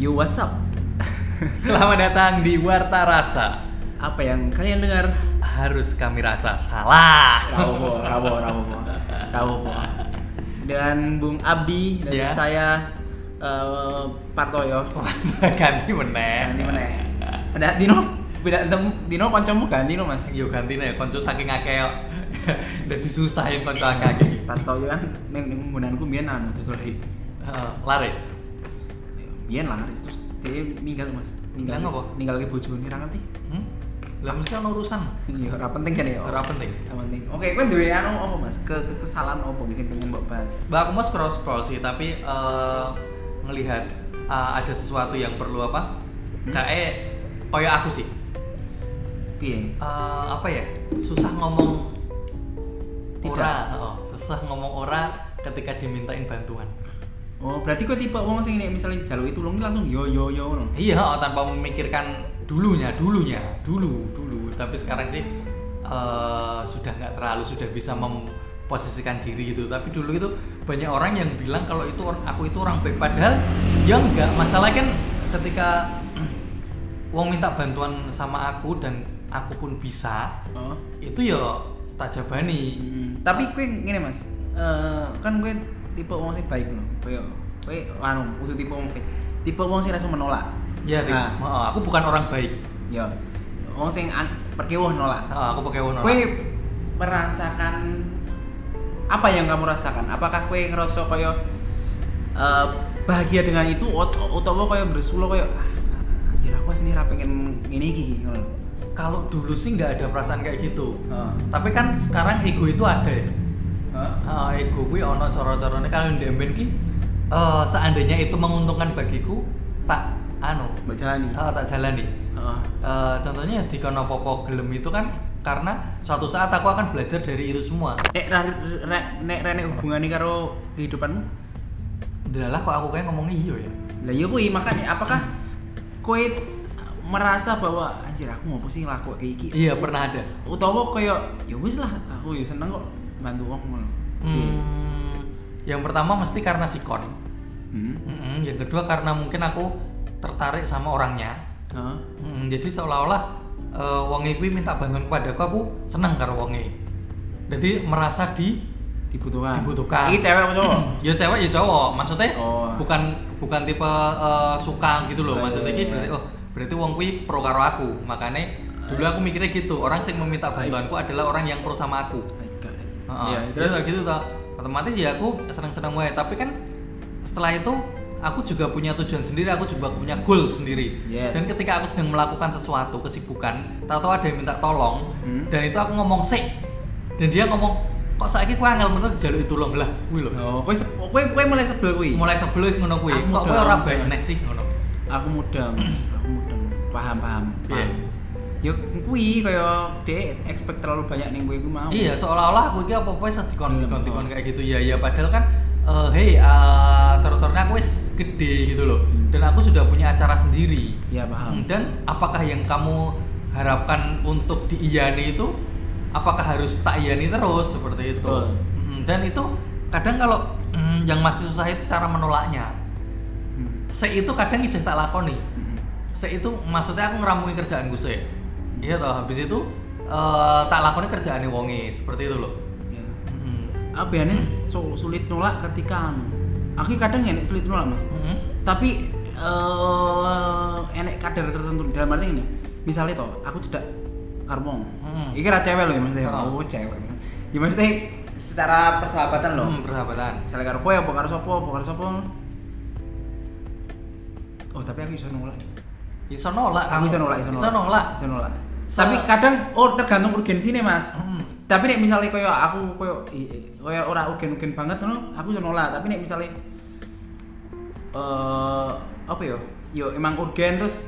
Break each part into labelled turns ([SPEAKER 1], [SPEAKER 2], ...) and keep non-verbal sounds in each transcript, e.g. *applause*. [SPEAKER 1] Yo what's up? *laughs*
[SPEAKER 2] Selamat datang di Warta Rasa.
[SPEAKER 1] Apa yang kalian dengar?
[SPEAKER 2] Harus kami rasa salah.
[SPEAKER 1] Rawopo, Rawopo, Rawopo, Rawopo. Dan Bung Abdi dan
[SPEAKER 2] Ya.
[SPEAKER 1] saya eh, Partoyo.
[SPEAKER 2] *laughs* ganti meneh.
[SPEAKER 1] Ganti meneh. Beda Dino, beda tem- Dino kancamu ganti no Mas.
[SPEAKER 2] Yo ganti nih, konco saking akeh. *laughs* Dadi susahin konco akeh. iki.
[SPEAKER 1] Partoyo kan ning ning nggonanku biyen anu dodol hik.
[SPEAKER 2] Heeh, laris.
[SPEAKER 1] Biyen lah terus dia ninggal Mas.
[SPEAKER 2] Ninggal apa?
[SPEAKER 1] Ninggal ke bojone ra ngerti.
[SPEAKER 2] Hmm? Lah mesti ono urusan.
[SPEAKER 1] Iya, ora penting jane ya.
[SPEAKER 2] Ora penting.
[SPEAKER 1] Ora penting. Oke, kowe duwe anu apa Mas? Ke ke- kesalahan apa sih pengen mbok bahas?
[SPEAKER 2] Mbak aku mau scroll scroll sih, tapi eh, ngelihat eh, ada sesuatu yang perlu apa?
[SPEAKER 1] Hmm?
[SPEAKER 2] Kayak koyo aku sih.
[SPEAKER 1] Piye?
[SPEAKER 2] Eh, apa ya? Susah ngomong
[SPEAKER 1] Tidak.
[SPEAKER 2] ora, heeh. susah ngomong ora ketika dimintain bantuan.
[SPEAKER 1] Oh, berarti kowe tipe wong sing nek misalnya dijaluki tulung ki langsung yo yo yo ngono.
[SPEAKER 2] Iya, oh, tanpa memikirkan dulunya, dulunya, dulu, dulu. Tapi sekarang sih eh, sudah nggak terlalu sudah bisa memposisikan diri gitu. Tapi dulu itu banyak orang yang bilang kalau itu or- aku itu orang baik padahal ya enggak. Masalah kan ketika *clears throat* wong minta bantuan sama aku dan aku pun bisa,
[SPEAKER 1] Oh.
[SPEAKER 2] itu ya tak jabani.
[SPEAKER 1] Tapi kowe ngene Mas. Eh, kan kowe tipe wong sing baik ngono. Kowe kowe anu, kudu tipe wong baik. Tipe wong sing rasa menolak.
[SPEAKER 2] Ya, Rik.
[SPEAKER 1] Nah,
[SPEAKER 2] Heeh, aku bukan orang baik.
[SPEAKER 1] yo. Wong sing an- perkewuh nolak.
[SPEAKER 2] Heeh, aku pakai warna.
[SPEAKER 1] Kowe merasakan apa yang kamu rasakan? Apakah kowe ngerasa kaya eh, bahagia dengan itu ot- utawa kaya bersulo kaya "Ah, anjir aku sini ra pengen ngene iki ngono.
[SPEAKER 2] Kalau dulu sih nggak ada perasaan kayak gitu.
[SPEAKER 1] Heeh.
[SPEAKER 2] Tapi kan sekarang ego itu ada ya. Eh, ego gue ono coro-corone kalau ndemben ki eh, seandainya itu menguntungkan bagiku tak anu
[SPEAKER 1] Mbak Jalani.
[SPEAKER 2] eh, tak jalani.
[SPEAKER 1] Heeh.
[SPEAKER 2] Eh, contohnya di kono popo gelem itu kan karena suatu saat aku akan belajar dari itu semua.
[SPEAKER 1] Nek ra- re- nek rene hubungane karo kehidupanmu?
[SPEAKER 2] Adalah kok aku kayak ngomongnya iyo ya.
[SPEAKER 1] Lah iya kuwi makanya apakah kowe merasa bahwa anjir aku ngopo sih ngelakuin kayak iki?
[SPEAKER 2] Iya pernah ada.
[SPEAKER 1] Utawa kaya ya wis lah aku ya seneng kok bantu wong ngono. Iya.
[SPEAKER 2] Hmm, yang pertama mesti karena sikon.
[SPEAKER 1] Hmm.
[SPEAKER 2] Mm-mm, Yang kedua karena mungkin aku tertarik sama orangnya.
[SPEAKER 1] Heeh.
[SPEAKER 2] Mm, jadi seolah-olah eh, wong iki minta bantuan kepadaku, aku seneng karo wong iki. Jadi merasa di
[SPEAKER 1] dibutuhkan.
[SPEAKER 2] Dibutuhkan.
[SPEAKER 1] Iki cewek apa cowok?
[SPEAKER 2] ya cewek ya cowok, maksudnya
[SPEAKER 1] Oh.
[SPEAKER 2] bukan bukan tipe eh, suka gitu loh,
[SPEAKER 1] Oh,
[SPEAKER 2] maksudnya
[SPEAKER 1] iya,
[SPEAKER 2] iki
[SPEAKER 1] iya.
[SPEAKER 2] berarti oh berarti wong kuwi pro karo aku. Makanya dulu aku mikirnya gitu, orang yang meminta bantuanku adalah orang yang pro sama aku.
[SPEAKER 1] I got it.
[SPEAKER 2] Heeh.
[SPEAKER 1] Iya,
[SPEAKER 2] terus
[SPEAKER 1] terus
[SPEAKER 2] gitu toh. Otomatis ya aku senang-senang wae, tapi kan setelah itu aku juga punya tujuan sendiri, aku juga punya goal sendiri.
[SPEAKER 1] Yes.
[SPEAKER 2] Dan ketika aku sedang melakukan sesuatu kesibukan, tahu-tahu ada yang minta tolong
[SPEAKER 1] Hmm.
[SPEAKER 2] dan itu aku ngomong sik. Dan dia ngomong, "Kok saiki kowe angel bener dijaluki tulung." Lah, kuwi lho.
[SPEAKER 1] Oh, kowe sep- kowe kowe mulai sebel kuwi.
[SPEAKER 2] Mulai sebelum wis ngono kuwi.
[SPEAKER 1] Aku Hmm.
[SPEAKER 2] Kok kowe
[SPEAKER 1] dong.
[SPEAKER 2] ora baik neh sih ngono.
[SPEAKER 1] Aku mudeng, aku mudeng. Paham, paham.
[SPEAKER 2] Iya.
[SPEAKER 1] paham. Yo kuwi kaya dek expect terlalu banyak ning kowe iku mau.
[SPEAKER 2] Iya, seolah-olah aku iki apa-apa iso
[SPEAKER 1] Belum,
[SPEAKER 2] dikon dikon
[SPEAKER 1] oh.
[SPEAKER 2] dikon kayak gitu. Ya ya padahal kan eh hey, eh coro-corona aku wis gede gitu loh.
[SPEAKER 1] Hmm.
[SPEAKER 2] Dan aku sudah punya acara sendiri.
[SPEAKER 1] Iya, paham.
[SPEAKER 2] Dan apakah yang kamu harapkan untuk diiyani itu apakah harus tak iyani terus seperti itu?
[SPEAKER 1] Betul.
[SPEAKER 2] Mm, Dan itu kadang kalau mm, yang masih susah itu cara menolaknya.
[SPEAKER 1] Hmm.
[SPEAKER 2] Se itu kadang isih tak lakoni.
[SPEAKER 1] Hmm.
[SPEAKER 2] Se itu maksudnya aku ngeramuin kerjaanku se. Iya toh, habis itu eh, tak lakoni kerjaannya wonge seperti itu loh.
[SPEAKER 1] Iya.
[SPEAKER 2] Mm,
[SPEAKER 1] Abene ya, su- sulit nolak ketika anu. Aku kadang enek sulit nolak, Mas.
[SPEAKER 2] mm,
[SPEAKER 1] Tapi eh enek kadar tertentu dalam arti ini. Misalnya toh, aku cedak karmong.
[SPEAKER 2] Hmm.
[SPEAKER 1] Iki ra cewek loh ya maksudnya.
[SPEAKER 2] Oh.
[SPEAKER 1] Oh, cewek. Ya maksudnya secara persahabatan loh.
[SPEAKER 2] mm, persahabatan.
[SPEAKER 1] Misalnya karo kowe apa karo sapa, apa karo sapa. Oh, tapi aku iso nolak.
[SPEAKER 2] Iso nolak
[SPEAKER 1] Aku
[SPEAKER 2] kamu.
[SPEAKER 1] iso nolak, iso nolak.
[SPEAKER 2] Iso nolak.
[SPEAKER 1] Iso nolak.
[SPEAKER 2] Se-
[SPEAKER 1] Tapi kadang oh tergantung urgensinya, Mas.
[SPEAKER 2] Hmm.
[SPEAKER 1] Tapi nek misalnya koyo aku koyo i- i- koyo ora urgen-urgen banget ngono, aku iso nolak. Tapi nek misalnya eh apa ya? Yo emang urgen terus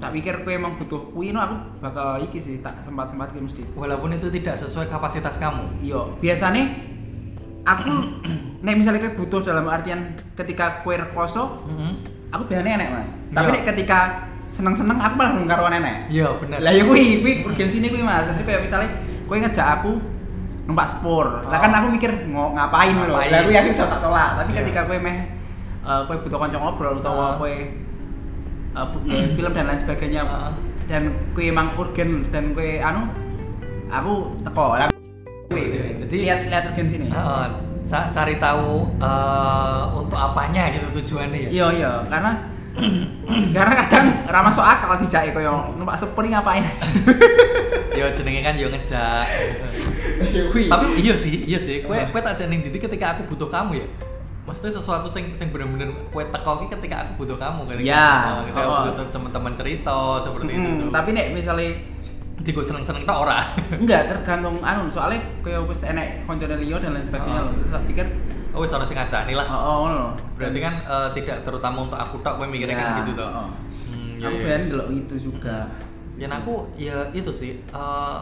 [SPEAKER 1] tak pikir kowe emang butuh kuwi no aku bakal iki sih tak sempat-sempatke mesti.
[SPEAKER 2] Walaupun itu tidak sesuai kapasitas kamu.
[SPEAKER 1] Yo, biasanya aku *clears throat* nek misalnya kowe butuh dalam artian ketika kowe rekoso,
[SPEAKER 2] Mm-mm.
[SPEAKER 1] aku biasanya enek, Mas. Tapi
[SPEAKER 2] Iya.
[SPEAKER 1] nek ketika seneng-seneng aku malah nggak karuan enek.
[SPEAKER 2] Iya, benar.
[SPEAKER 1] Lah ya kuwi, kuwi urgensine kuwi Mas. Jadi kayak misalnya kowe ngejak aku numpak sepur. Lah kan aku mikir ngo, ngapain lho.
[SPEAKER 2] Oh. Ngapain.
[SPEAKER 1] Lah kuwi aku iso tak tolak, tapi
[SPEAKER 2] Iya.
[SPEAKER 1] ketika kowe meh eh, kowe butuh kanca ngobrol utawa
[SPEAKER 2] Ah.
[SPEAKER 1] kowe eh, bu-
[SPEAKER 2] *clears throat*
[SPEAKER 1] nge- film dan lain sebagainya
[SPEAKER 2] Heeh.
[SPEAKER 1] dan kue emang urgen dan kue anu aku teko lah
[SPEAKER 2] Jadi-
[SPEAKER 1] lihat lihat urgen sini
[SPEAKER 2] Heeh, Eh, sa- cari tahu eh, untuk apanya gitu tujuannya ya.
[SPEAKER 1] iya iya karena *clears throat* karena kadang ra masuk akal dijake koyo numpak sepuri ngapain aja
[SPEAKER 2] Yo jenenge kan yo ngejak.
[SPEAKER 1] Kui.
[SPEAKER 2] *laughs* Tapi *laughs* iya sih, iya sih. Kue kue tak jeneng Didi ketika aku butuh kamu ya. Maksudnya sesuatu sing sing bener-bener kue teko ki ketika aku butuh kamu ketika
[SPEAKER 1] Iya.
[SPEAKER 2] eh, ketika aku
[SPEAKER 1] Oh.
[SPEAKER 2] butuh teman-teman cerita seperti itu.
[SPEAKER 1] Mm,
[SPEAKER 2] tuh.
[SPEAKER 1] tapi nek misalnya
[SPEAKER 2] Jadi gue seneng-seneng tak ora.
[SPEAKER 1] enggak tergantung anu soalnya koyo wis enek koncone liya dan lain sebagainya
[SPEAKER 2] Oh.
[SPEAKER 1] loh. Terus tak pikir
[SPEAKER 2] Oh wis ana sing ngajani lah.
[SPEAKER 1] oh, oh ngono loh.
[SPEAKER 2] Berarti kan eh, tidak terutama untuk aku tok kowe mikirnya kan
[SPEAKER 1] Ya,
[SPEAKER 2] gitu toh.
[SPEAKER 1] oh.
[SPEAKER 2] Hmm, iya,
[SPEAKER 1] aku
[SPEAKER 2] iya.
[SPEAKER 1] pengen delok itu juga
[SPEAKER 2] Dan aku ya itu sih eh,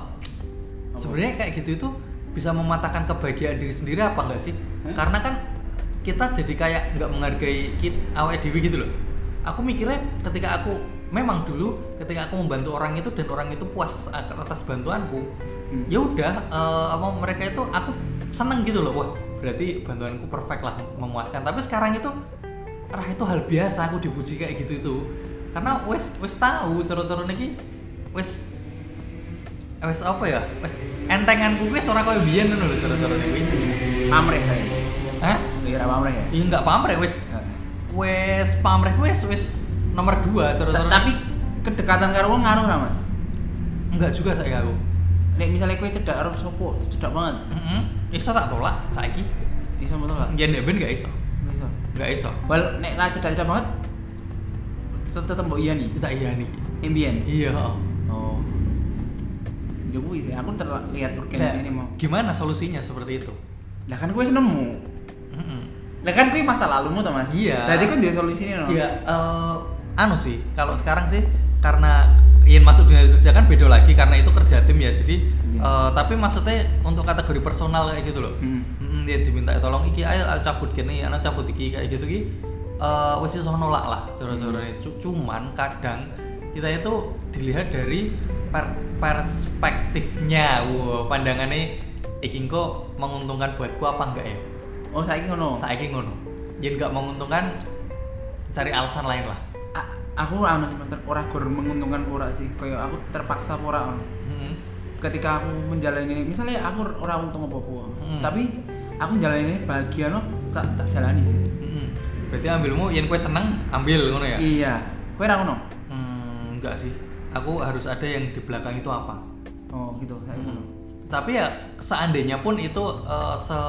[SPEAKER 2] sebenarnya kayak gitu itu bisa mematahkan kebahagiaan diri sendiri apa enggak sih?
[SPEAKER 1] Hah?
[SPEAKER 2] Karena kan kita jadi kayak nggak menghargai kita awal dewi gitu loh. Aku mikirnya ketika aku memang dulu ketika aku membantu orang itu dan orang itu puas atas bantuanku,
[SPEAKER 1] Hmm.
[SPEAKER 2] ya udah eh, apa mereka itu aku seneng gitu loh. Wah berarti bantuanku perfect lah memuaskan. Tapi sekarang itu rah itu hal biasa aku dipuji kayak gitu itu karena wes wes tahu coro-coro lagi wes wes apa ya wes entengan gue wes orang kau biyen ngono lho coro-coro niki
[SPEAKER 1] pamrih kayak gitu.
[SPEAKER 2] Hah?
[SPEAKER 1] iya ra pamrih ya
[SPEAKER 2] ya nggak pamrih wes wes pamrih wes wes nomor dua coro-coro
[SPEAKER 1] Ta- tapi kedekatan karo wong ngaruh ra Mas
[SPEAKER 2] nggak juga saya aku
[SPEAKER 1] nek misalnya kowe cedak karo sopo cedak banget
[SPEAKER 2] Heeh. iso tak tolak saiki
[SPEAKER 1] iso betul gak
[SPEAKER 2] ya ndek ben nggak iso
[SPEAKER 1] iso
[SPEAKER 2] nggak iso
[SPEAKER 1] Wal nek ra cedak-cedak banget tet- tetep mbok iya nih
[SPEAKER 2] kita iya nih
[SPEAKER 1] ambien
[SPEAKER 2] iya
[SPEAKER 1] oh ya kuwi sih aku terlihat
[SPEAKER 2] Nah,
[SPEAKER 1] urgensi ini mau
[SPEAKER 2] gimana solusinya seperti itu
[SPEAKER 1] lah kan kowe wis nemu
[SPEAKER 2] Heeh.
[SPEAKER 1] lah kan kowe masa lalumu to Mas
[SPEAKER 2] Iya.
[SPEAKER 1] berarti kowe duwe solusi ini no
[SPEAKER 2] Ya, eh, anu sih, kalau sekarang sih karena yang masuk dunia kerja kan beda lagi karena itu kerja tim ya. Jadi
[SPEAKER 1] Iya.
[SPEAKER 2] eh, tapi maksudnya untuk kategori personal kayak gitu loh.
[SPEAKER 1] Hmm.
[SPEAKER 2] Mm, ya diminta tolong iki ayo, ayo cabut kene, ayo cabut iki kayak gitu ki. Eh wis iso nolak lah
[SPEAKER 1] Hmm.
[SPEAKER 2] saudara-saudaranya. Cu- Cuman kadang kita itu dilihat dari per- perspektifnya. Wow, pandangannya iki engko menguntungkan buatku apa enggak ya?
[SPEAKER 1] oh saiki ngono
[SPEAKER 2] saiki ngono jadi nggak menguntungkan cari alasan lain lah
[SPEAKER 1] A- aku anu sih Mas ter- ora gur menguntungkan pura sih koyo aku terpaksa pura ono.
[SPEAKER 2] Mm-mm.
[SPEAKER 1] ketika aku menjalani ini misalnya aku ora untung apa-apa
[SPEAKER 2] Hmm.
[SPEAKER 1] tapi aku menjalani ini bahagia no tak tak jalani sih
[SPEAKER 2] Mm-mm. Mm-hmm. berarti ambilmu yang kue seneng ambil ngono ya
[SPEAKER 1] iya kowe ra ngono
[SPEAKER 2] Hmm, enggak sih aku harus ada yang di belakang itu apa
[SPEAKER 1] oh gitu saiki
[SPEAKER 2] Hmm. Mm-hmm.
[SPEAKER 1] ngono
[SPEAKER 2] tapi ya seandainya pun itu eh, se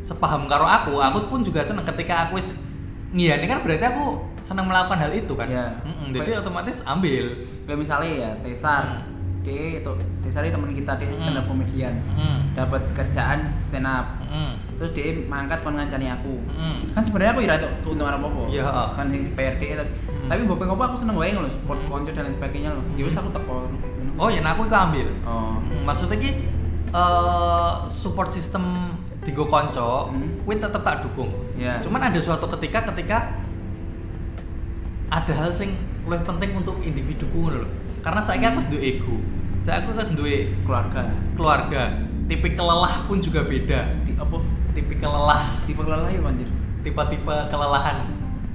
[SPEAKER 2] sepaham karo aku aku pun juga seneng ketika aku is iya ini kan berarti aku seneng melakukan hal itu kan
[SPEAKER 1] Iya.
[SPEAKER 2] Mm-mm, jadi otomatis ambil
[SPEAKER 1] kayak misalnya ya Tesar dia itu Tesar itu teman kita dia stand up
[SPEAKER 2] Hmm.
[SPEAKER 1] comedian
[SPEAKER 2] Mm-mm.
[SPEAKER 1] dapat kerjaan stand up
[SPEAKER 2] Mm-mm.
[SPEAKER 1] terus dia mangkat kon ngancani aku
[SPEAKER 2] Mm-mm.
[SPEAKER 1] kan sebenarnya aku ira itu keuntungan apa apa
[SPEAKER 2] Iya.
[SPEAKER 1] kan yang DPRD tapi
[SPEAKER 2] Hmm.
[SPEAKER 1] tapi bapak bapak aku seneng banget loh support
[SPEAKER 2] Hmm.
[SPEAKER 1] konco dan lain sebagainya loh ya wis aku teko
[SPEAKER 2] oh ya nah aku itu ambil
[SPEAKER 1] oh
[SPEAKER 2] Mm, maksudnya ki eh, support system digo konco
[SPEAKER 1] Hmm.
[SPEAKER 2] kuwi tetep tak dukung
[SPEAKER 1] Iya.
[SPEAKER 2] cuman ada suatu ketika ketika ada hal sing lebih penting untuk individuku ngono lho karena saya aku duwe
[SPEAKER 1] Hmm.
[SPEAKER 2] ego saya aku harus duwe
[SPEAKER 1] keluarga
[SPEAKER 2] keluarga tipikal lelah pun juga beda
[SPEAKER 1] di apa
[SPEAKER 2] tipikal lelah
[SPEAKER 1] tipe lelah ya anjir
[SPEAKER 2] tipe-tipe kelelahan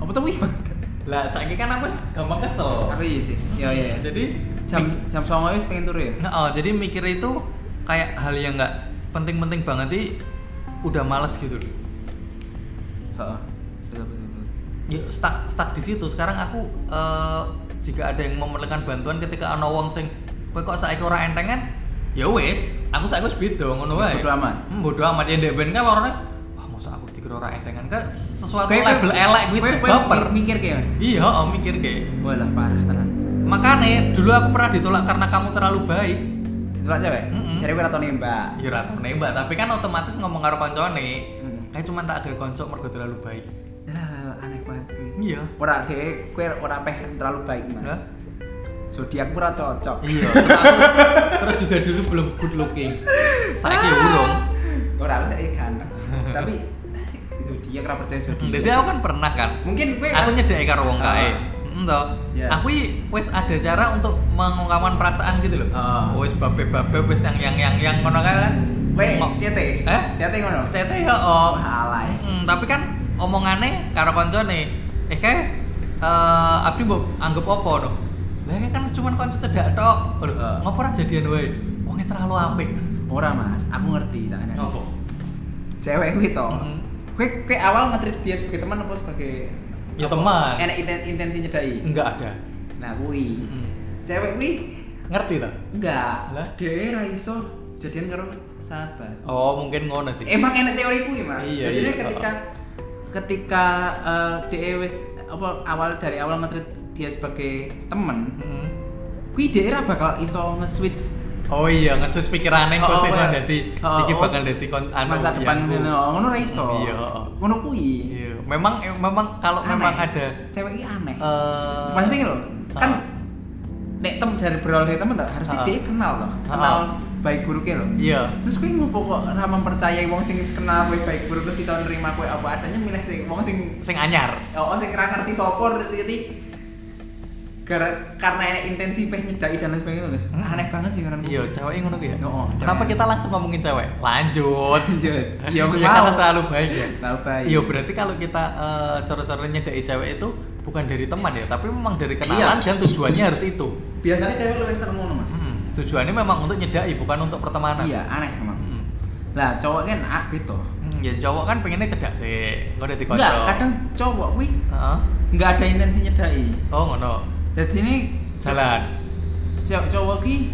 [SPEAKER 1] apa tuh wih
[SPEAKER 2] lah saya kan aku wis gampang kesel
[SPEAKER 1] tapi iya sih ya ya ya.
[SPEAKER 2] Oh. jadi
[SPEAKER 1] jam jam songo wis pengen turu ya
[SPEAKER 2] Nah, oh, jadi mikir itu kayak hal yang nggak penting-penting banget sih udah males gitu loh.
[SPEAKER 1] heeh betul betul betul
[SPEAKER 2] Ya stuck stuck di situ. Sekarang aku eh, jika ada yang memerlukan bantuan ketika ana wong sing kowe kok saiki ora entengan, ya wis, aku saiki wis beda ngono wae.
[SPEAKER 1] Bodo amat.
[SPEAKER 2] Hmm, bodo amat ya ndek ben kan lorone. Wah, masa aku dikira ora entengan kan sesuatu
[SPEAKER 1] Kayak-
[SPEAKER 2] label elek gitu
[SPEAKER 1] Kowe- kowe
[SPEAKER 2] baper.
[SPEAKER 1] mikir kayak Mas?
[SPEAKER 2] Iya, oh, mikir kayak.
[SPEAKER 1] Walah parah tenan.
[SPEAKER 2] Makanya dulu aku pernah ditolak karena kamu terlalu baik.
[SPEAKER 1] Ditolak cewek?
[SPEAKER 2] Mm-mm.
[SPEAKER 1] Jadi gue atau nembak.
[SPEAKER 2] Ya ora tau nembak, tapi kan otomatis ngomong karo koncone.
[SPEAKER 1] Hmm.
[SPEAKER 2] Kayak cuma tak agar konco mergo terlalu baik.
[SPEAKER 1] Lah, Ya, aneh banget. kuwi.
[SPEAKER 2] Iya.
[SPEAKER 1] Ora deh, kue ora peh terlalu baik
[SPEAKER 2] Hah?
[SPEAKER 1] mas. Zodiak ora cocok. *laughs*
[SPEAKER 2] Iya. Terus, aku- terus juga dulu belum good looking.
[SPEAKER 1] Ah.
[SPEAKER 2] Saiki ya urung.
[SPEAKER 1] Ora aku saiki ganteng. Tapi zodiak ora percaya zodiak.
[SPEAKER 2] Jadi aku kan pernah kan.
[SPEAKER 1] Mungkin kue
[SPEAKER 2] Aku nyedeki karo wong kae.
[SPEAKER 1] Hmm. oh. Ah.
[SPEAKER 2] Heeh to.
[SPEAKER 1] Iya.
[SPEAKER 2] Aku i- wis ada cara untuk mengungkapkan perasaan gitu loh.
[SPEAKER 1] Ah.
[SPEAKER 2] Wis babe-babe wis yang yang yang yang ngono kae kan.
[SPEAKER 1] kue
[SPEAKER 2] Ngok-
[SPEAKER 1] CT.
[SPEAKER 2] Eh?
[SPEAKER 1] CT ngono.
[SPEAKER 2] CT ya oh.
[SPEAKER 1] Wah alay.
[SPEAKER 2] Hmm, tapi kan omongannya karo koncone eh kayak eh abdi mbok anggap apa no? Lah kan cuman kanca cedak tok. Lho,
[SPEAKER 1] Eh.
[SPEAKER 2] ngopo ora jadian wae? Wong terlalu apik.
[SPEAKER 1] Ora mas, aku ngerti tak enak.
[SPEAKER 2] Ngopo?
[SPEAKER 1] Cewek kuwi to.
[SPEAKER 2] Mm-mm.
[SPEAKER 1] Kowe kowe awal ngetrit dia sebagai teman apa sebagai
[SPEAKER 2] Ya
[SPEAKER 1] apa?
[SPEAKER 2] teman.
[SPEAKER 1] Enak inten- intensi nyedai.
[SPEAKER 2] Enggak ada.
[SPEAKER 1] Nah kuwi.
[SPEAKER 2] Mm.
[SPEAKER 1] Cewek kuwi
[SPEAKER 2] Ngerti ta?
[SPEAKER 1] enggak.
[SPEAKER 2] Lah?
[SPEAKER 1] Dhewe ra iso jadian karo sahabat.
[SPEAKER 2] Oh, mungkin ngono sih.
[SPEAKER 1] Emang enak teori kuwi mas.
[SPEAKER 2] Iya,
[SPEAKER 1] Jadinya
[SPEAKER 2] iya.
[SPEAKER 1] ketika ketika eh, dia wis apa awal dari awal ngetrit dia sebagai temen,
[SPEAKER 2] Mm.
[SPEAKER 1] kuwi dia ra bakal iso nge-switch
[SPEAKER 2] Oh iya, nge-switch pikirane kok
[SPEAKER 1] Oh,
[SPEAKER 2] sih
[SPEAKER 1] oh,
[SPEAKER 2] dadi
[SPEAKER 1] oh,
[SPEAKER 2] iki
[SPEAKER 1] oh.
[SPEAKER 2] bakal dadi kon anu
[SPEAKER 1] masa depan
[SPEAKER 2] biangku.
[SPEAKER 1] ngono ngono ra iso.
[SPEAKER 2] Iya, heeh.
[SPEAKER 1] Ngono kuwi.
[SPEAKER 2] Iya, memang eh, memang kalau
[SPEAKER 1] Aneh.
[SPEAKER 2] memang ada
[SPEAKER 1] cewek ini aneh.
[SPEAKER 2] eh
[SPEAKER 1] Maksudnya gitu loh, kan
[SPEAKER 2] ah.
[SPEAKER 1] nek tem dari berawal dari temen tak harusnya
[SPEAKER 2] Ah.
[SPEAKER 1] dia kenal loh,
[SPEAKER 2] Ah.
[SPEAKER 1] kenal baik buruknya loh.
[SPEAKER 2] Iya.
[SPEAKER 1] Terus kowe mau kok ora mempercayai wong sing wis kenal kowe baik buruk terus iso nerima kowe apa adanya milih sing wong sing
[SPEAKER 2] Sing anyar.
[SPEAKER 1] oh sing ora ngerti sapa ngerti gara karena enek intensi peh nyedaki dan lain sebagainya loh.
[SPEAKER 2] Hmm.
[SPEAKER 1] Aneh banget sih karena
[SPEAKER 2] Iya, cewek ngono tuh ya.
[SPEAKER 1] Oh, cewek.
[SPEAKER 2] Kenapa kita langsung ngomongin cewek? Lanjut.
[SPEAKER 1] Iya, *laughs* iya, aku mau.
[SPEAKER 2] *laughs* Ya,
[SPEAKER 1] Nah,
[SPEAKER 2] karena terlalu baik ya.
[SPEAKER 1] Terlalu baik.
[SPEAKER 2] Iya, berarti kalau kita eh, cara-cara nyedai cewek itu bukan dari teman ya, tapi memang dari kenalan
[SPEAKER 1] Iya.
[SPEAKER 2] dan tujuannya harus itu.
[SPEAKER 1] Biasanya cewek lebih sering ngono, Mas.
[SPEAKER 2] Hmm, tujuannya memang untuk nyedai bukan untuk pertemanan.
[SPEAKER 1] Iya, aneh emang.
[SPEAKER 2] Hmm.
[SPEAKER 1] Lah, cowok kan ah, beda.
[SPEAKER 2] Hmm, Ya cowok kan pengennya cedak sih, nggak ada dikocok.
[SPEAKER 1] Enggak, kadang cowok kuwi
[SPEAKER 2] Heeh.
[SPEAKER 1] enggak ada intensi nyedaki.
[SPEAKER 2] Oh ngono.
[SPEAKER 1] Jadi ini
[SPEAKER 2] Jalan.
[SPEAKER 1] cewek cowok ki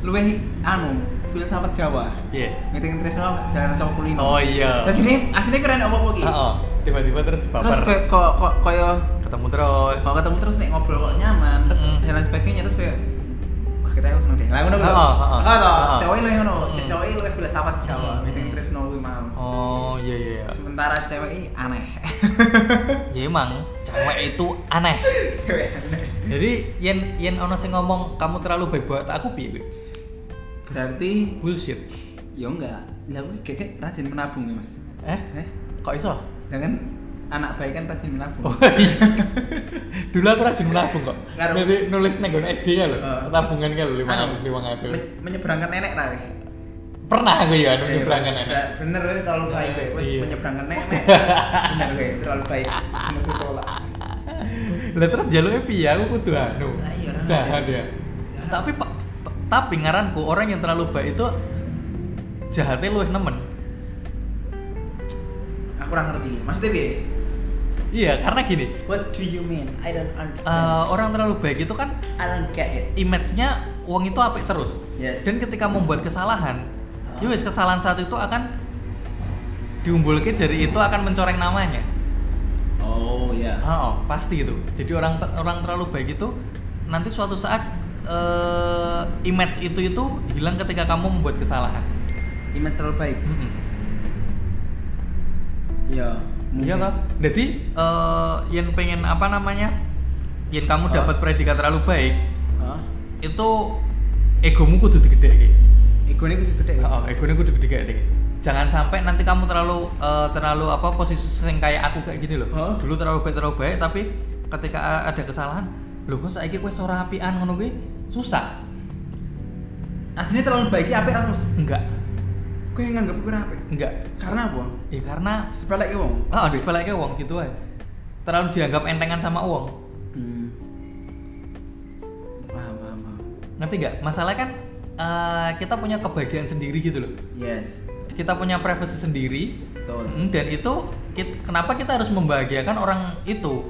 [SPEAKER 1] luwih anu filsafat Jawa.
[SPEAKER 2] Iya.
[SPEAKER 1] Ngiting tresno jalan saka kulino.
[SPEAKER 2] Oh iya.
[SPEAKER 1] Jadi ini aslinya keren apa apa ki?
[SPEAKER 2] Heeh. Tiba-tiba terus
[SPEAKER 1] Terus
[SPEAKER 2] baper.
[SPEAKER 1] kayak kok kok koyo
[SPEAKER 2] Ketemu terus.
[SPEAKER 1] kalau ketemu terus nek ngobrol kok nyaman, terus
[SPEAKER 2] Mm.
[SPEAKER 1] dan lain sebagainya terus kayak wah kita harus seneng deh. Lah ngono kuwi.
[SPEAKER 2] Oh, oh, oh.
[SPEAKER 1] Heeh.
[SPEAKER 2] Oh.
[SPEAKER 1] Cowok luwih ngono,
[SPEAKER 2] Mm.
[SPEAKER 1] cowok luwih filsafat Jawa,
[SPEAKER 2] Mm.
[SPEAKER 1] ngiting tresno kuwi mau.
[SPEAKER 2] Oh iya iya.
[SPEAKER 1] Sementara cewek ini aneh. *laughs*
[SPEAKER 2] Ya emang cewek itu aneh.
[SPEAKER 1] cewek aneh.
[SPEAKER 2] Jadi yen yen ono sing ngomong kamu terlalu baik buat aku piye kuwi?
[SPEAKER 1] Berarti
[SPEAKER 2] Bullshit.
[SPEAKER 1] ya enggak. Lah kuwi keke rajin menabung ya, Mas.
[SPEAKER 2] Eh?
[SPEAKER 1] Eh?
[SPEAKER 2] Kok iso? *laughs*
[SPEAKER 1] Dengan anak baik kan rajin menabung.
[SPEAKER 2] Oh, iya. Dulu aku rajin menabung kok.
[SPEAKER 1] Karo-
[SPEAKER 2] Nanti nulis nang nggon SD ya lho.
[SPEAKER 1] Eh.
[SPEAKER 2] Tabungan kan lho
[SPEAKER 1] Anu,
[SPEAKER 2] 500 500.
[SPEAKER 1] men- menyeberangkan nenek lah weh.
[SPEAKER 2] Pernah aku ya
[SPEAKER 1] Eh,
[SPEAKER 2] nyebrangkan
[SPEAKER 1] bener,
[SPEAKER 2] anak.
[SPEAKER 1] Bener weh terlalu baik weh. Wes
[SPEAKER 2] Iya.
[SPEAKER 1] menyeberangkan nenek. Bener weh terlalu baik. Bener ku tolak.
[SPEAKER 2] Lah terus jaluke piye aku kudu anu.
[SPEAKER 1] Lah iya, orang
[SPEAKER 2] Jahat
[SPEAKER 1] ada.
[SPEAKER 2] ya. Tapi pa- pa- tapi ngaranku orang yang terlalu baik itu jahatnya luwih nemen.
[SPEAKER 1] Aku kurang ngerti. Maksudnya piye?
[SPEAKER 2] Iya, karena gini,
[SPEAKER 1] What do you mean? I don't
[SPEAKER 2] eh,
[SPEAKER 1] understand.
[SPEAKER 2] orang terlalu baik itu kan
[SPEAKER 1] I don't get it.
[SPEAKER 2] image-nya uang itu apik terus.
[SPEAKER 1] Yes.
[SPEAKER 2] Dan ketika membuat kesalahan,
[SPEAKER 1] Ah.
[SPEAKER 2] ya wis kesalahan satu itu akan diumbulke jari itu akan mencoreng namanya.
[SPEAKER 1] Oh ya.
[SPEAKER 2] Oh, pasti itu. Jadi orang ter- orang terlalu baik itu nanti suatu saat eh, image itu itu hilang ketika kamu membuat kesalahan.
[SPEAKER 1] Image terlalu baik.
[SPEAKER 2] Mm-mm.
[SPEAKER 1] Ya.
[SPEAKER 2] Iya
[SPEAKER 1] mungkin.
[SPEAKER 2] toh? Jadi eh, yang pengen apa namanya? Yang kamu
[SPEAKER 1] Ah.
[SPEAKER 2] dapat predikat terlalu baik
[SPEAKER 1] Hah?
[SPEAKER 2] itu egomu kudu digedheki.
[SPEAKER 1] Ego ini kudu gede. ya?
[SPEAKER 2] Oh, egonya gue gede kayak gini. Jangan sampai nanti kamu terlalu eh, terlalu apa posisi yang kayak aku kayak gini loh.
[SPEAKER 1] Hah?
[SPEAKER 2] Dulu terlalu baik terlalu baik tapi ketika a- ada kesalahan, loh kok saiki kowe ora apian ngono kuwi susah.
[SPEAKER 1] Aslinya terlalu baik ya apik terus.
[SPEAKER 2] Enggak,
[SPEAKER 1] Gue yang nganggep gue apik.
[SPEAKER 2] enggak.
[SPEAKER 1] Karena apa?
[SPEAKER 2] Ya karena
[SPEAKER 1] Sepelek ya wong.
[SPEAKER 2] oh, dibaliknya uang gitu aja. Terlalu dianggap entengan sama uang.
[SPEAKER 1] Hmm. Paham, paham, paham.
[SPEAKER 2] Ngerti nggak? Masalah kan eh, kita punya kebahagiaan sendiri gitu loh.
[SPEAKER 1] Yes,
[SPEAKER 2] Kita punya privasi sendiri,
[SPEAKER 1] betul.
[SPEAKER 2] Mm, dan itu kit- kenapa kita harus membahagiakan orang itu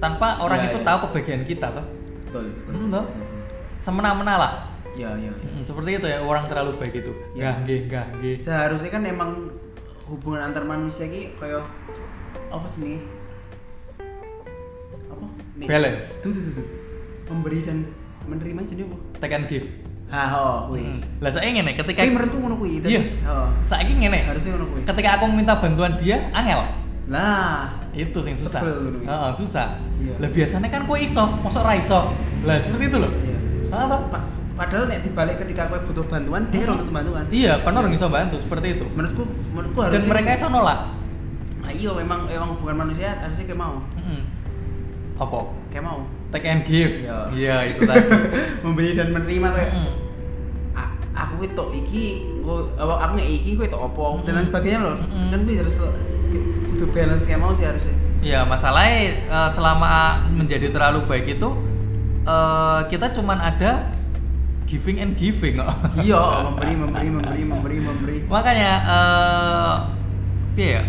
[SPEAKER 2] tanpa orang
[SPEAKER 1] Iya,
[SPEAKER 2] itu
[SPEAKER 1] iya.
[SPEAKER 2] tahu kebahagiaan kita toh
[SPEAKER 1] Betul, betul.
[SPEAKER 2] Hmm, toh?
[SPEAKER 1] betul, betul.
[SPEAKER 2] semena-mena lah
[SPEAKER 1] Ya, ya, ya.
[SPEAKER 2] Mm, seperti itu ya orang terlalu baik itu
[SPEAKER 1] Iya.
[SPEAKER 2] ya nggih nggih nggih
[SPEAKER 1] Seharusnya kan emang hubungan antar manusia ki kayak apa sih Apa? Nih.
[SPEAKER 2] balance
[SPEAKER 1] Tuh, tuh, tuh, tuh. Memberi dan menerima jadi apa?
[SPEAKER 2] take and give
[SPEAKER 1] Ah, oh, kuwi.
[SPEAKER 2] Mm. lah saya ngene ketika
[SPEAKER 1] Tapi menurutku ngono kuwi. tadi.
[SPEAKER 2] Iya.
[SPEAKER 1] Oh,
[SPEAKER 2] saya ngene
[SPEAKER 1] harusnya ngono kuwi.
[SPEAKER 2] ketika aku minta bantuan dia angel
[SPEAKER 1] Lah,
[SPEAKER 2] itu sing susah
[SPEAKER 1] Sebel ngono kuwi.
[SPEAKER 2] Heeh, susah
[SPEAKER 1] Iya.
[SPEAKER 2] lah biasanya kan kue iso masuk ra iso lah seperti itu loh
[SPEAKER 1] iya.
[SPEAKER 2] Heeh, toh?
[SPEAKER 1] Pa- padahal nek dibalik ketika kowe butuh bantuan, dia
[SPEAKER 2] Mm.
[SPEAKER 1] ora butuh bantuan.
[SPEAKER 2] iya karena orang iso bantu seperti itu
[SPEAKER 1] Menurutku menurutku harusnya
[SPEAKER 2] dan mereka iso nolak
[SPEAKER 1] Nah, iya memang emang bukan manusia harusnya kayak mau.
[SPEAKER 2] Mm-mm. apa
[SPEAKER 1] Kayak mau.
[SPEAKER 2] take and give
[SPEAKER 1] Iya.
[SPEAKER 2] iya itu tadi
[SPEAKER 1] Memberi dan menerima kayak
[SPEAKER 2] Mm.
[SPEAKER 1] "A- aku itu iki gua apa, aku nggak iki gue itu opo dan lain
[SPEAKER 2] Mm.
[SPEAKER 1] sebagainya Kan loh.
[SPEAKER 2] Mm.
[SPEAKER 1] Dan gue harus kudu balance kayak mau sih harusnya.
[SPEAKER 2] Ya masalahnya eh, selama menjadi terlalu baik itu eh, kita cuman ada giving and giving kok. *laughs*
[SPEAKER 1] iya memberi memberi memberi memberi memberi
[SPEAKER 2] Makanya eh piye ya?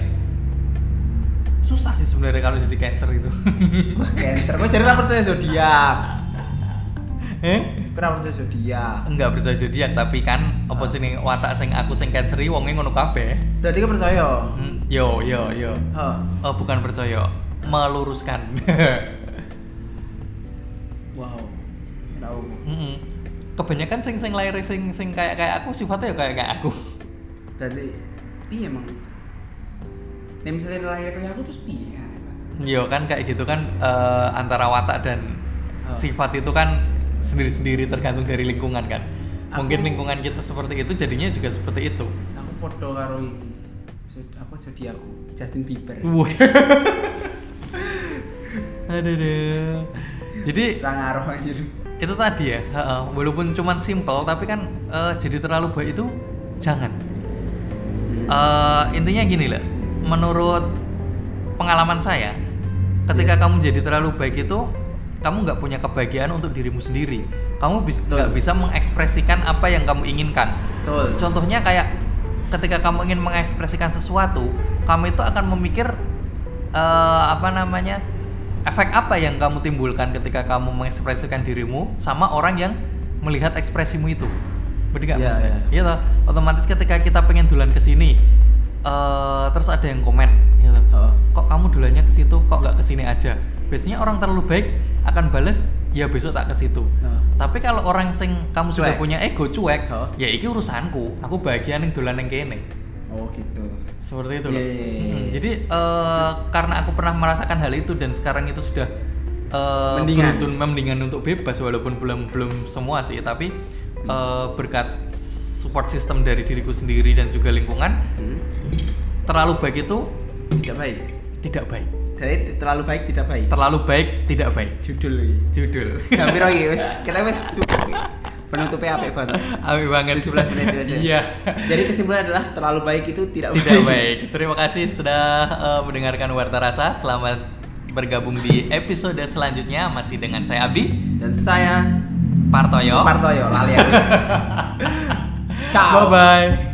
[SPEAKER 2] Susah sih sebenarnya kalau jadi cancer gitu. itu.
[SPEAKER 1] cancer gue jadi nggak percaya zodiak
[SPEAKER 2] *laughs* Eh?
[SPEAKER 1] gue nggak percaya zodiak
[SPEAKER 2] Enggak percaya zodiak tapi kan apa sih nih, watak sing aku sing canceri wonge ngono kabeh.
[SPEAKER 1] berarti gue percaya
[SPEAKER 2] Hmm, Yo yo yo.
[SPEAKER 1] Hah.
[SPEAKER 2] Oh, bukan percaya, meluruskan. *laughs*
[SPEAKER 1] wow tahu
[SPEAKER 2] Mm-mm. Kebanyakan sing sing lahir sing sing kayak kayak aku sifatnya ya kayak kayak aku.
[SPEAKER 1] berarti piye emang Nah misalnya lahir kayak aku terus piye ya
[SPEAKER 2] Yo kan kayak gitu kan eh, antara watak dan
[SPEAKER 1] Oh.
[SPEAKER 2] sifat itu kan sendiri-sendiri tergantung dari lingkungan kan.
[SPEAKER 1] Aku-
[SPEAKER 2] Mungkin lingkungan kita seperti itu jadinya juga seperti itu.
[SPEAKER 1] aku podo karo iki Zod- apa zodiakku Justin Bieber
[SPEAKER 2] Wes. *laughs* Aduh. aduh. Jadi
[SPEAKER 1] Ra ngaruh anjir
[SPEAKER 2] itu tadi ya, heeh. walaupun cuman simple tapi kan eh, jadi terlalu baik itu jangan. Eh, intinya gini lah, menurut pengalaman saya, ketika kamu jadi terlalu baik itu, kamu nggak punya kebahagiaan untuk dirimu sendiri. Kamu bis-
[SPEAKER 1] Betul.
[SPEAKER 2] nggak bisa mengekspresikan apa yang kamu inginkan.
[SPEAKER 1] betul
[SPEAKER 2] Contohnya kayak ketika kamu ingin mengekspresikan sesuatu, kamu itu akan memikir eh, apa namanya efek apa yang kamu timbulkan ketika kamu mengekspresikan dirimu sama orang yang melihat ekspresimu itu. Berarti nggak
[SPEAKER 1] Iya,
[SPEAKER 2] maksudnya?
[SPEAKER 1] iya.
[SPEAKER 2] Iya toh? Otomatis ketika kita pengen dulan ke sini, eh, terus ada yang komen, gitu.
[SPEAKER 1] Heeh.
[SPEAKER 2] Kok kamu dulannya ke situ, kok nggak ke sini aja? Biasanya orang terlalu baik akan bales, ya besok tak ke situ.
[SPEAKER 1] Heeh.
[SPEAKER 2] Tapi kalau orang sing kamu sudah
[SPEAKER 1] Cuek.
[SPEAKER 2] punya ego cuek,
[SPEAKER 1] Heeh.
[SPEAKER 2] ya iki urusanku. Aku bahagia ning dolan ning kene.
[SPEAKER 1] oh gitu
[SPEAKER 2] Seperti itu loh.
[SPEAKER 1] Iya, iya, iya,
[SPEAKER 2] Hmm,
[SPEAKER 1] iya.
[SPEAKER 2] Jadi eh, karena aku pernah merasakan hal itu dan sekarang itu sudah eh,
[SPEAKER 1] Mendingan.
[SPEAKER 2] beruntun mendingan untuk bebas walaupun belum belum semua sih, tapi eh, berkat support system dari diriku sendiri dan juga lingkungan
[SPEAKER 1] Hmm.
[SPEAKER 2] terlalu baik itu
[SPEAKER 1] tidak baik
[SPEAKER 2] tidak baik.
[SPEAKER 1] jadi terlalu baik tidak baik
[SPEAKER 2] Terlalu baik tidak baik.
[SPEAKER 1] judul lagi *laughs*
[SPEAKER 2] Judul.
[SPEAKER 1] hampir lagi wis kita wis cukup iki. penutupnya apik banget
[SPEAKER 2] Amin banget.
[SPEAKER 1] 17 menit wis ya.
[SPEAKER 2] Iya.
[SPEAKER 1] jadi kesimpulannya adalah terlalu baik itu tidak,
[SPEAKER 2] Tidak baik. Terima kasih sudah eh, mendengarkan Warta Rasa. Selamat bergabung di episode selanjutnya masih dengan saya Abdi
[SPEAKER 1] dan saya
[SPEAKER 2] Partoyo. *laughs*
[SPEAKER 1] Partoyo lali aku. Ciao.
[SPEAKER 2] Bye bye.